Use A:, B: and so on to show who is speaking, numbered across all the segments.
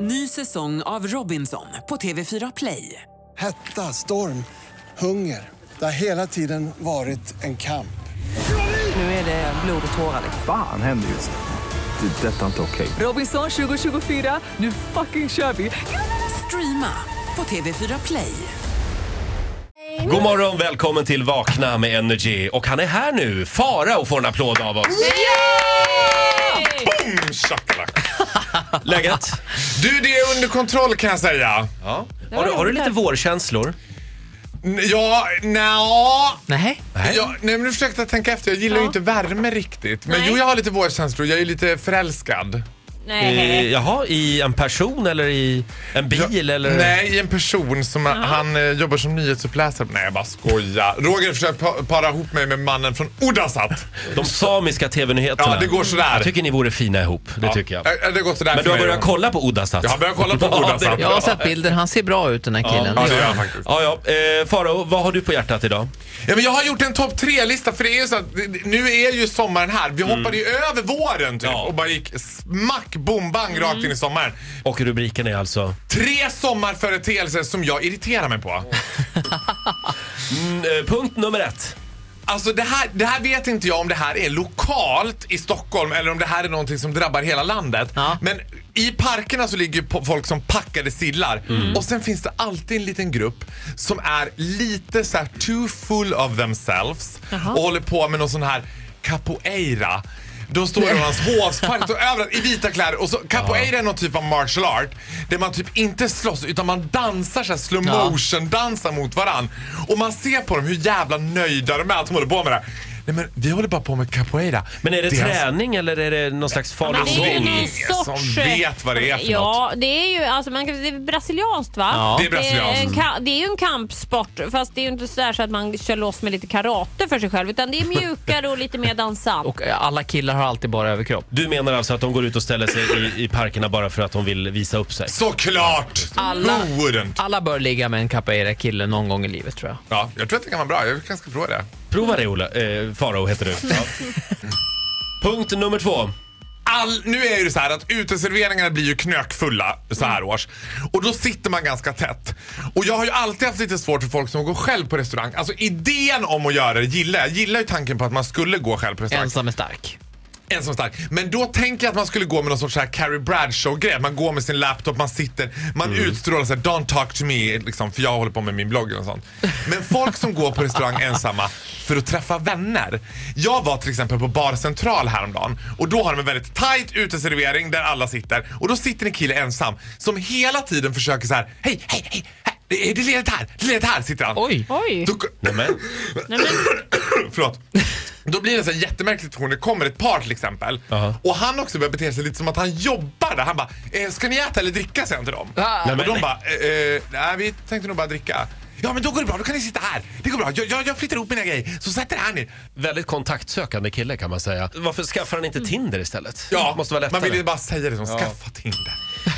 A: Ny säsong av Robinson på TV4 Play.
B: Hetta, storm, hunger. Det har hela tiden varit en kamp.
A: Nu är det blod och tårar.
C: Fan händer just nu. Det. är Detta är inte okej.
A: Robinson 2024, nu fucking kör vi! Streama på TV4 Play.
D: God morgon, välkommen till Vakna med Energy. Och han är här nu, Farao får en applåd av oss.
E: Mm, shakalaka.
D: Läget?
E: Du, det är under kontroll kan jag säga.
D: Ja. Har, du, har du lite vårkänslor?
E: N- Ja, nja.
D: Nej.
E: Ja, nej men nu försökte jag tänka efter. Jag gillar ju inte värme riktigt. Men
F: Nej.
E: jo, jag har lite vårkänslor. Jag är ju lite förälskad.
F: Nej.
D: jaha, i en person eller i en bil eller?
E: Nej, en person som han eh, jobbar som nyhetsuppläsare. Nej, jag bara skojar. Roger försökte pa- para ihop mig med mannen från Uddasat.
D: De samiska TV-nyheterna.
E: Ja, det går sådär.
D: Jag tycker ni vore fina ihop, det tycker jag.
E: Ja, det går sådär
D: Men du
E: för
D: har
E: mig
D: börjat
E: då.
D: kolla på Uddasat?
E: Jag har börjat kolla på Uddasat.
G: Jag har sett bilder, han ser bra ut den här killen.
E: Ja, det gör jag faktiskt.
D: Ja, ja. Eh, Farao, vad har du på hjärtat idag?
E: Ja, men jag har gjort en topp tre-lista för det är ju så att det- det- nu är ju sommaren här. Vi hoppade ju över våren typ
D: Ja.
E: och bara gick smack, bom, bang rakt in i sommaren.
D: Och rubriken är alltså?
E: Tre sommarföreteelser som jag irriterar mig på.
D: Mm, eh, punkt nummer ett.
E: Alltså det här, det här vet inte jag om det här är lokalt i Stockholm eller om det här är någonting som drabbar hela landet.
G: Ja.
E: Men i parkerna så ligger po- folk som packade sillar
D: Mm.
E: och sen finns det alltid en liten grupp som är lite så här too full of themselves och håller på med någon sån här capoeira. De står i någons hovspark och överallt i vita kläder. Och så capoeira är någon typ av martial art där man typ inte slåss utan man dansar så här slow
G: Ja.
E: motion motion dansar mot varann. Och man ser på dem hur jävla nöjda de är att de håller på med det här. Nej men vi håller bara på med capoeira.
D: Men är det
E: Deras-
D: träning eller är det någon slags farlig
F: Men det är ju
E: Alltså, Ingen
F: någon
E: som
F: sorts... eh,
E: vet vad det är för
F: Ja, det är ju alltså, man kan, det är brasilianskt va?
G: Ja.
E: Det är brasilianskt.
F: Det är, en, ka- det är ju en kampsport fast det är ju inte sådär så att man kör loss med lite karate för sig själv utan det är mjukare och lite mer dansant.
G: Och eh, alla killar har alltid bara överkropp.
D: Du menar alltså att de går ut och ställer sig i, i parkerna bara för att de vill visa upp sig?
E: Såklart!
G: Alla-
E: Who wouldn't?
G: Alla bör ligga med en capoeira-kille någon gång i livet tror jag.
E: Ja, jag tror att det kan vara bra. Jag är ganska bra i det.
D: Prova det Ola. Eh, Farao heter du. Ja. Punkt nummer två.
E: All, nu är det så här att uteserveringarna blir ju knökfulla så här års. Och då sitter man ganska tätt. Och jag har ju alltid haft lite svårt för folk som går själv på restaurang. Alltså idén om att göra det gillar jag. Jag gillar ju tanken på att man skulle gå själv på restaurang.
G: Ensam är stark.
E: ensam stark. Men då tänker jag att man skulle gå med någon sorts så här Carrie Bradshaw-grej. Att Man går med sin laptop, man sitter, man utstrålar så här, don't talk to me, liksom, för jag håller på med min blogg och sånt. Men folk som går på restaurang ensamma för att träffa vänner. Jag var till exempel på Bar Central häromdagen och då har de en väldigt tight uteservering där alla sitter och då sitter en kille ensam som hela tiden försöker så här: hej, hej, hej, hej. Det det ledet här, det ledet här sitter han.
G: Oj!
F: Oj!
E: Då,
D: Nämen.
F: Nej, men,
E: Förlåt. Då blir det så här jättemärklig situation. Det kommer ett par till exempel.
D: Jaha.
E: Och han också börjar bete sig lite som att han jobbar där. Han bara, eh, ska ni äta eller dricka? Säger han till dem.
G: Ah.
E: och
D: Nej, men-
E: de bara, eh, eh, nej vi tänkte nog bara dricka. Ja men då går det bra, då kan ni sitta här. Det går bra, jag, jag, jag flyttar ihop mina grejer. Så sätter här ni.
D: Väldigt kontaktsökande kille kan man säga. Varför skaffar han inte Tinder istället?
E: Mm. Ja,
D: Det måste vara lättare.
E: man vill ju bara säga det som skaffa Tinder.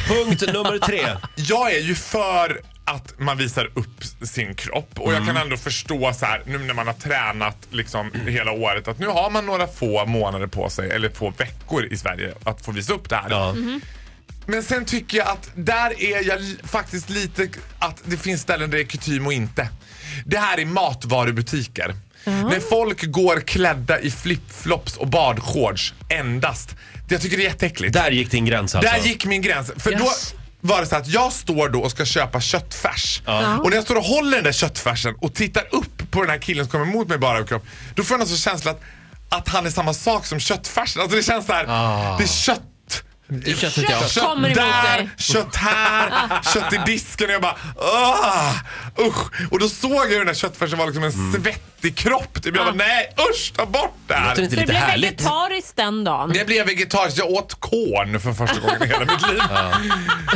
D: Punkt nummer tre.
E: Jag är ju för att man visar upp sin kropp och jag kan ändå förstå så här nu när man har tränat liksom hela året att nu har man några få månader på sig eller få veckor i Sverige att få visa upp det här.
D: Ja.
E: Men sen tycker jag att där är jag li- faktiskt lite att det finns ställen där det är kutym och inte. Det här är matvarubutiker. När folk går klädda i flipflops och badshorts endast. Jag tycker det är jätteäckligt.
D: Där gick din gräns alltså.
E: Där gick min gräns. För
G: Yes.
E: då var det så att jag står då och ska köpa köttfärs.
D: Ja.
E: Och när jag står och håller den där köttfärsen och tittar upp på den här killen som kommer emot mig bara överkropp. Då får jag någon sorts känsla att, att han är samma sak som köttfärsen. Alltså det känns så här, det är kött.
G: är köttet, ja.
E: Kött
F: Kommer emot
E: där,
F: dig.
E: kött här, kött i disken. Och jag bara ah, usch. Och då såg jag hur den där köttfärsen var liksom en svettig kropp. Typ. Jag bara nej usch ta bort det här.
D: Låter inte
F: så det
D: lite
F: blev
D: härligt?
F: vegetariskt den dagen.
E: Det blev vegetariskt. Jag åt korn för första gången i hela mitt liv.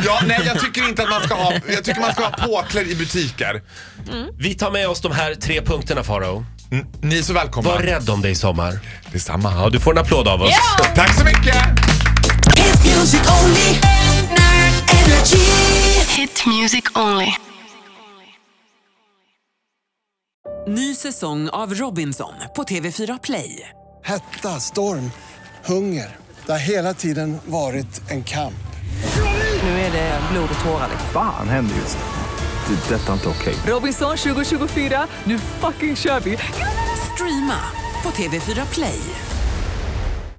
E: Ja. nej, jag tycker inte att man ska ha, jag tycker man ska ha påklädd i butiker.
D: Vi tar med oss de här tre punkterna Farao.
E: N- Ni är så välkomna.
D: Var rädd om dig i sommar.
E: Detsamma.
D: Ja, du får en applåd av oss.
E: Tack så mycket!
H: Hit music only. Energy.
I: Hit music only.
A: Ny säsong av Robinson på TV4 Play.
B: Hetta, storm, hunger. Det har hela tiden varit en kamp.
A: Nu är det blod och tårar. liksom.
C: Fan händer just nu. Det. är Detta är inte okej.
A: Robinson 2024, nu fucking kör vi!
H: Streama på TV4 Play.